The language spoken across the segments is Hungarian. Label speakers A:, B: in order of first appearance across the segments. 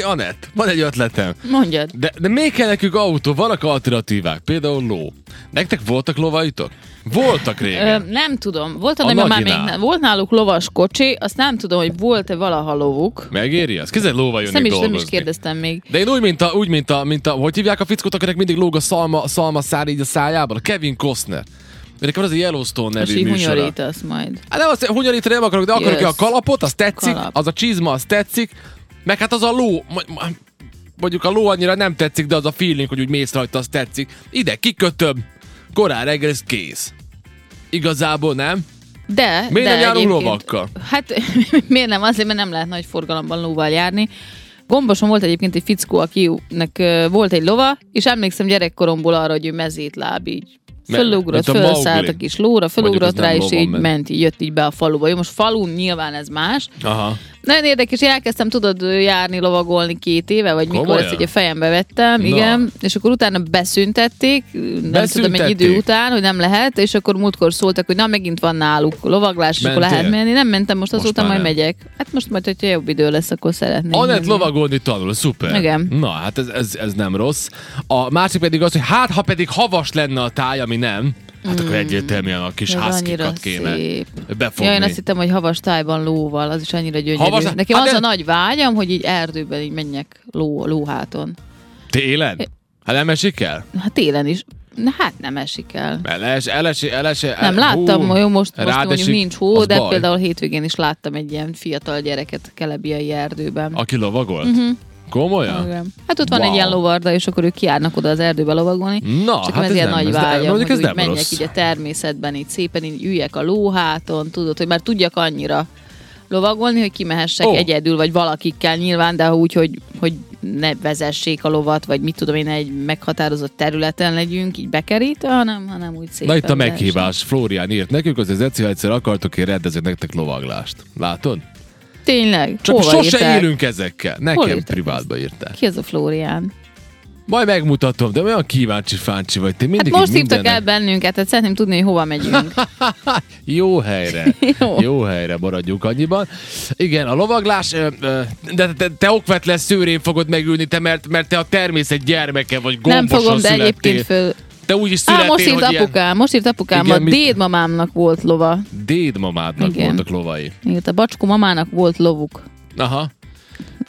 A: Anett, van egy ötletem.
B: Mondjad.
A: De, de még kell nekünk autó, vannak alternatívák, például ló. Nektek voltak lovaitok? Voltak
B: Ö,
A: régen.
B: nem tudom. Volt, a
A: A
B: már még
A: nagyinál.
B: nem. Volt náluk lovas kocsi, azt nem tudom, hogy volt-e valaha lovuk.
A: Megéri az? Kizen lóval jönni
B: Nem is,
A: dolgozni.
B: nem is kérdeztem még.
A: De én úgy, mint a, úgy, mint a, mint a, hogy hívják a fickót, akinek mindig lóg a szalma, szalma szár így a szájában? A Kevin Costner. Nekem az a Yellowstone
B: És
A: nevű
B: így
A: műsora.
B: hunyorítasz majd.
A: Hát nem azt, hunyorítani nem akarok, de akarok
B: Jössz.
A: yes. a kalapot, az tetszik,
B: Kalap.
A: Kalap. az a csizma, az tetszik, meg hát az a ló, ma- ma- mondjuk a ló annyira nem tetszik, de az a feeling, hogy úgy mész rajta, az tetszik. Ide kikötöm, korán reggel, ez kész. Igazából nem?
B: De,
A: Miért
B: de
A: nem járunk
B: egyébként-
A: lovakkal?
B: Hát miért nem? Azért, mert nem lehet nagy forgalomban lóval járni. Gomboson volt egyébként egy fickó, akinek ö, volt egy lova, és emlékszem gyerekkoromból arra, hogy ő mezét láb így.
A: Me-
B: Fölugrott,
A: mint a
B: fölszállt a
A: Mowgli.
B: kis lóra, fölugrott
A: Mondjuk ez
B: rá,
A: nem
B: és
A: lovon
B: így
A: ment.
B: ment, így jött így be a faluba. Jó, most falun nyilván ez más.
A: Aha.
B: Nagyon érdekes, én elkezdtem, tudod, járni, lovagolni két éve, vagy mikor
A: Komolyan?
B: ezt ugye fejembe vettem,
A: Na.
B: igen, és akkor utána beszüntették, nem tudom, egy
A: Beszüntették?
B: idő után, hogy nem lehet, és akkor múltkor szóltak, hogy na, megint van náluk lovaglás, és akkor
A: Mentél?
B: lehet menni. Nem mentem, most
A: Most
B: azóta
A: már
B: majd
A: nem.
B: megyek. Hát most majd, hogyha jobb idő lesz, akkor szeretném.
A: Anett
B: menni.
A: lovagolni tanul, szuper.
B: Igen.
A: Na, hát ez, ez, ez nem rossz. A másik pedig az, hogy hát ha pedig havas lenne a táj, ami nem, hát akkor egyértelműen a kis
B: Mm. Ez annyira
A: házkikat kéne
B: szép.
A: befogni.
B: Ja, én azt hittem, hogy havas tájban lóval, az is annyira gyönyörű.
A: Havas-
B: Nekem
A: hát
B: az
A: de-
B: a nagy vágyam, hogy így erdőben így menjek ló, lóháton.
A: Télen? Hát nem esik el?
B: Hát télen is. Na, hát nem esik el.
A: Eles, elesi, elesi, el,
B: Nem, láttam,
A: hú,
B: jó, most, most
A: rád
B: mondjuk
A: esik,
B: nincs hó,
A: az
B: de
A: baj.
B: például hétvégén is láttam egy ilyen fiatal gyereket kelebiai erdőben.
A: Aki lovagolt? Uh-huh. Komolyan?
B: Mhm. Igen. Hát ott van
A: Wow.
B: egy ilyen lovarda, és akkor ők kiárnak oda az erdőbe lovagolni.
A: Na,
B: és
A: hát
B: ez
A: ez
B: ilyen
A: nem,
B: nagy
A: ez nem-
B: vágyam,
A: mondjuk
B: hogy
A: ez
B: úgy
A: nem
B: menjek
A: rossz.
B: így a természetben, így szépen így üljek a lóháton, tudod, hogy már tudjak annyira lovagolni, hogy kimehessek
A: Ó.
B: egyedül, vagy valakikkel nyilván, de úgy, hogy, hogy ne vezessék a lovat, vagy mit tudom én, egy meghatározott területen legyünk, így bekerítve, hanem, hanem úgy szépen.
A: Na itt a
B: lehessen.
A: meghívás. Flórián írt nekünk, az Eci, ha egyszer akartok, én rendezek nektek lovaglást. Látod?
B: Tényleg,
A: Csak
B: hova
A: sose
B: írták?
A: élünk ezekkel.
B: Hol
A: Nekem
B: írták
A: privátba írták.
B: Ki ez a Flórián? Hát
A: Majd megmutatom, de olyan kíváncsi fáncsi vagy. Te
B: Hát
A: mindig
B: most
A: így
B: hívtak el
A: mindennek-
B: bennünket, tehát szeretném tudni, hogy hova megyünk.
A: Jó helyre.
B: Jó.
A: Jó helyre maradjunk annyiban. Igen, a lovaglás, ö, ö, de te, te okvetlen szőrén fogod megülni, te, mert, mert te a természet gyermeke vagy
B: Nem
A: gombosan
B: fogom, de
A: születtél.
B: egyébként föl...
A: Te úgy is születtél,
B: Á, most írt
A: hogy ilyen
B: apukám, most írt apukám,
A: Igen,
B: a
A: mit-
B: dédmamámnak volt lova.
A: dédmamádnak
B: Igen.
A: voltak lovai.
B: Írt a bacskó mamának volt lovuk.
A: Aha,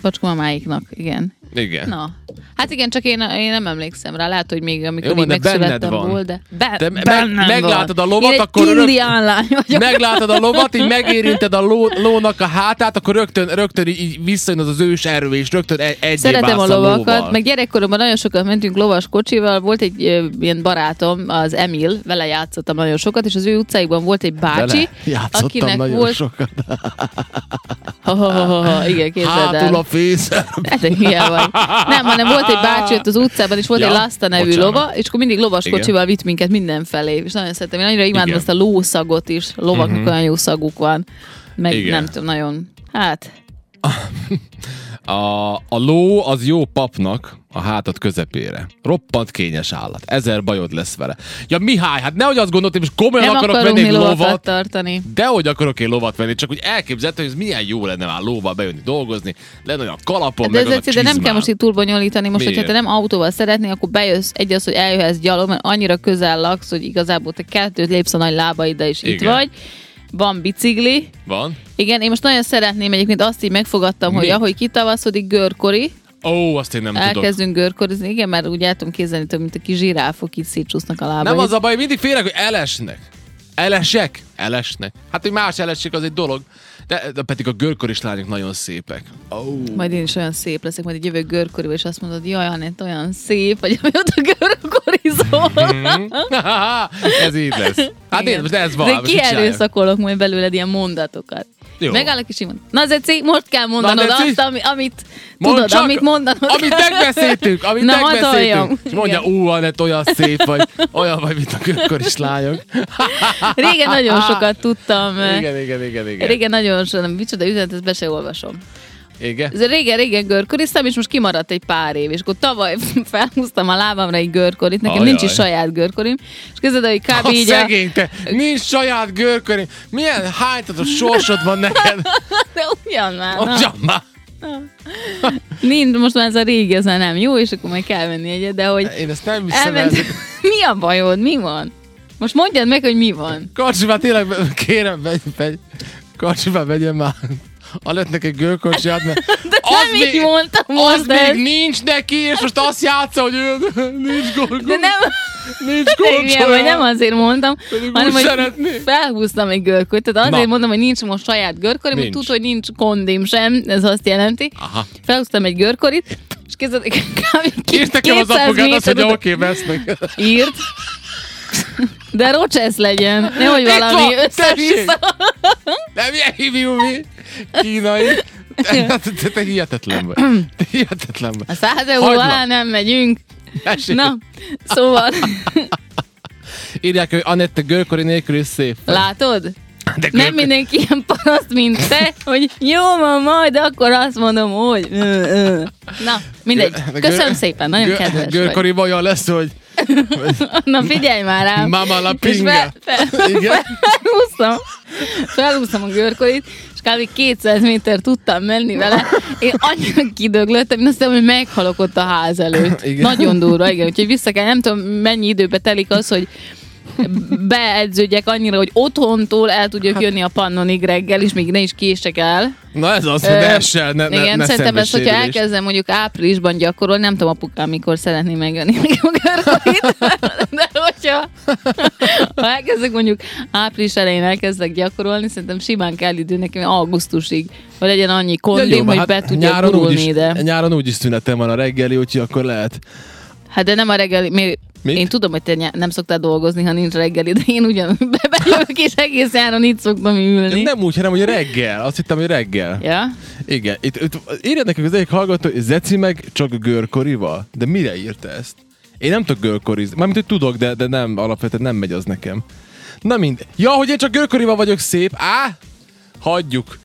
B: Bacskó mamáiknak, igen.
A: igen.
B: Na. Hát igen, csak én, én nem emlékszem rá. Lehet, hogy még amikor
A: Jó,
B: még
A: de benned
B: megszülettem
A: van.
B: volt, de... Be,
A: Te meg-
B: bennem
A: meglátod
B: van.
A: a lovat,
B: én
A: akkor
B: egy
A: örök-
B: indián lány vagyok.
A: Meglátod a lovat, így megérinted a ló, lónak a hátát, akkor rögtön, rögtön így- így visszajön az az ős erő, és rögtön e- egy egyéb
B: Szeretem a
A: állsz
B: lovakat,
A: lóval.
B: meg gyerekkoromban nagyon sokat mentünk lovas kocsival, volt egy ö, ilyen barátom, az Emil, vele játszottam nagyon sokat, és az ő utcáikban volt egy bácsi,
A: Vele játszottam
B: akinek
A: nagyon
B: volt...
A: sokat.
B: Ha, ha, ha, ha, ha, igen, képzeld
A: Hátul a
B: el.
A: fész.
B: Hát, ilyen vagy. Nem, hanem volt egy bácsi ott az utcában, és volt
A: Ja,
B: egy Lasta nevű
A: bocsánat.
B: lova, és akkor mindig lovas
A: Igen.
B: kocsival vitt minket mindenfelé, és nagyon szerettem. Én annyira imádom
A: Igen. Mhm.
B: ezt a lószagot is, lovaknak olyan jó szaguk van, meg
A: Igen.
B: nem tudom, nagyon... Hát,
A: A, a ló az jó papnak a hátad közepére. Roppant kényes állat. Ezer bajod lesz vele. Ja, Mihály, hát nehogy azt gondolt, hogy most komolyan
B: nem
A: akarok
B: akarunk
A: venni
B: mi
A: egy
B: lovat
A: lovat.
B: tartani.
A: Dehogy akarok én lovat venni, csak úgy elképzeltem, hogy ez milyen jó lenne már lóval bejönni dolgozni, lenne olyan kalapom,
B: Hát
A: meg
B: De,
A: az
B: ez
A: a
B: egyszer, de nem kell
A: csizmám.
B: most itt túlbonyolítani, most, hogyha
A: Miért?
B: te nem autóval szeretnél, akkor bejössz egy az, hogy eljöhetsz gyalog, mert annyira közel laksz, hogy igazából te kettőt lépsz a nagy lábaidra, és itt
A: Igen.
B: vagy. Van bicikli.
A: Van?
B: Igen, én most nagyon szeretném, egyébként azt így megfogadtam, hogy
A: Mi?
B: ahogy kitavaszodik, görkori,
A: Ó, azt én nem tudok.
B: elkezdünk görkorizni. Igen, mert úgy el tudom képzelni, több, mint a kis zsiráfok itt szétcsúsznak a lábaid.
A: Nem az a baj, mindig félek, hogy elesnek. Elesek? Elesnek. Hát, hogy más elesik, az egy dolog. De, de pedig a görkoris lányok nagyon szépek. Oh.
B: Majd én is olyan szép leszek, majd egy jövök görkoriba, és azt mondod, jaj, Anett, olyan szép, vagy ami ott a görkorizol.
A: Mhm. ez így lesz. Hát én,
B: Igen.
A: most ez van.
B: De
A: most mit csináljak?
B: kierőszakolok majd belőled ilyen mondatokat. Jó.
A: Jó.
B: Megállok és így mondom. Na Zeci, most kell mondanod
A: Na, Zeci!
B: azt, ami, amit
A: Mondd
B: tudod,
A: csak,
B: amit mondanod
A: Amit
B: kell.
A: megbeszéltünk, amit
B: Na, halljam.
A: megbeszéltünk. És mondja,
B: Igen.
A: ú, Anett, olyan szép vagy, olyan vagy, mint a görkoris lányok.
B: Régen nagyon sokat tudtam. eh,
A: igen, igen, igen, igen.
B: Régen nagyon sokat, micsoda üzenet, ezt be se olvasom.
A: igen.
B: Ez régen-régen görkoriztam, és most kimaradt egy pár év, és akkor tavaly felhúztam a lábamra egy görkorit, nekem
A: Ajaj.
B: nincs is saját görkorim, és kezded, hogy kb.
A: A
B: így a-
A: szegény, te, nincs saját görköri. Milyen hánytatos sorsod van neked?
B: De ugyan már, na.
A: Mondjam már.
B: Nincs, most már ez a régi, ez már nem jó, és akkor majd kell venni egyet, de hogy
A: Én ezt nem hiszem el.
B: elment... mi a bajod? Mi van? Most mondjad meg, hogy mi van.
A: Karcsi, már tényleg kérem, vegy, vegy. Karcsi, már vegyem már. Alett neki gőkocsiját, mert
B: De nem így mondtam
A: az
B: most ezt.
A: még nincs neki, és most azt játsza, hogy ő nincs gorgon,
B: De nem,
A: nincs
B: Igen, vagy nem
A: gorgon.
B: azért mondtam,
A: Pedig
B: hanem
A: úgy
B: hogy
A: szeretnék.
B: felhúztam egy görköt, tehát azért
A: Na.
B: mondom, hogy nincs most saját görkorim, mert
A: Nincs. Ah.
B: tudod, hogy nincs kondim sem, ez azt jelenti.
A: Aha.
B: Felhúztam egy görkorit, és kezdett kb.
A: Írt nekem az
B: 200
A: apukát azt,
B: méter
A: hogy
B: után-
A: oké, vesznek.
B: Írt. De rocsesz legyen, nehogy
A: Itt
B: valami
A: van,
B: össze-vissza.
A: Nem ilyen hívjú mi? Kínai. Te, te, te, te hihetetlen vagy. Te hihetetlen vagy.
B: A 100 euró
A: Hagyd
B: alá
A: ma.
B: nem megyünk.
A: Mesélj.
B: Hát, Na, szóval,
A: Írják, hogy Anette Görkori nélkül is szép.
B: látod?
A: De
B: Nem mindenki ilyen paraszt, mint te, hogy jó van majd, akkor azt mondom, hogy... ö, ö. Na, mindegy.
A: Gö-
B: Köszönöm
A: gö-
B: szépen, nagyon kedves vagy.
A: Görkori vajon lesz, hogy
B: Na figyelj már rám.
A: Mama la
B: És
A: pinga.
B: fel- fel-
A: Igen.
B: Felhúztam, felhúztam a görkorit, és kb. 200 méter tudtam menni vele. Én annyira kidöglöttem, én azt hiszem, hogy meghalok ott a ház előtt.
A: Igen.
B: Nagyon durva, igen. Úgyhogy vissza kell, nem tudom, mennyi időbe telik az, hogy beedződjek annyira, hogy otthontól el tudjak jönni a pannonig reggel, és még ne is kések el.
A: Na ez az, hogy
B: Ö,
A: essel, ne, ne,
B: Igen,
A: ne
B: szerintem
A: szenvedj
B: ezt, hogyha
A: sérülést.
B: elkezdem mondjuk áprilisban gyakorolni, nem tudom apukám, mikor szeretné megvenni nekem a görkorit, de hogyha ha elkezdek mondjuk április elején elkezdek gyakorolni, szerintem simán kell idő nekem augusztusig, hogy legyen annyi kondim,
A: Ja, jó,
B: hogy
A: hát
B: be tudjak gurulni
A: úgyis,
B: ide.
A: Nyáron úgyis szünetem van a reggeli, úgyhogy akkor lehet.
B: Hát de nem a reggeli, miért?
A: Mit?
B: Én tudom, hogy te nyá- nem szoktál dolgozni, ha nincs reggeli, de én ugyan be- bejövök, és egész nyáron itt szoktam ülni.
A: Nem úgy, hanem hogy reggel. Azt hittem, hogy reggel.
B: Ja?
A: Igen. Itt, itt írja nekünk az egyik hallgató, hogy Zeci meg csak görkorival. De mire írta ezt? Én nem tudok görkorizni. Mármint, hogy tudok, de, de nem, alapvetően nem megy az nekem. Na mind. Ja, hogy én csak görkorival vagyok szép. Á! Hagyjuk.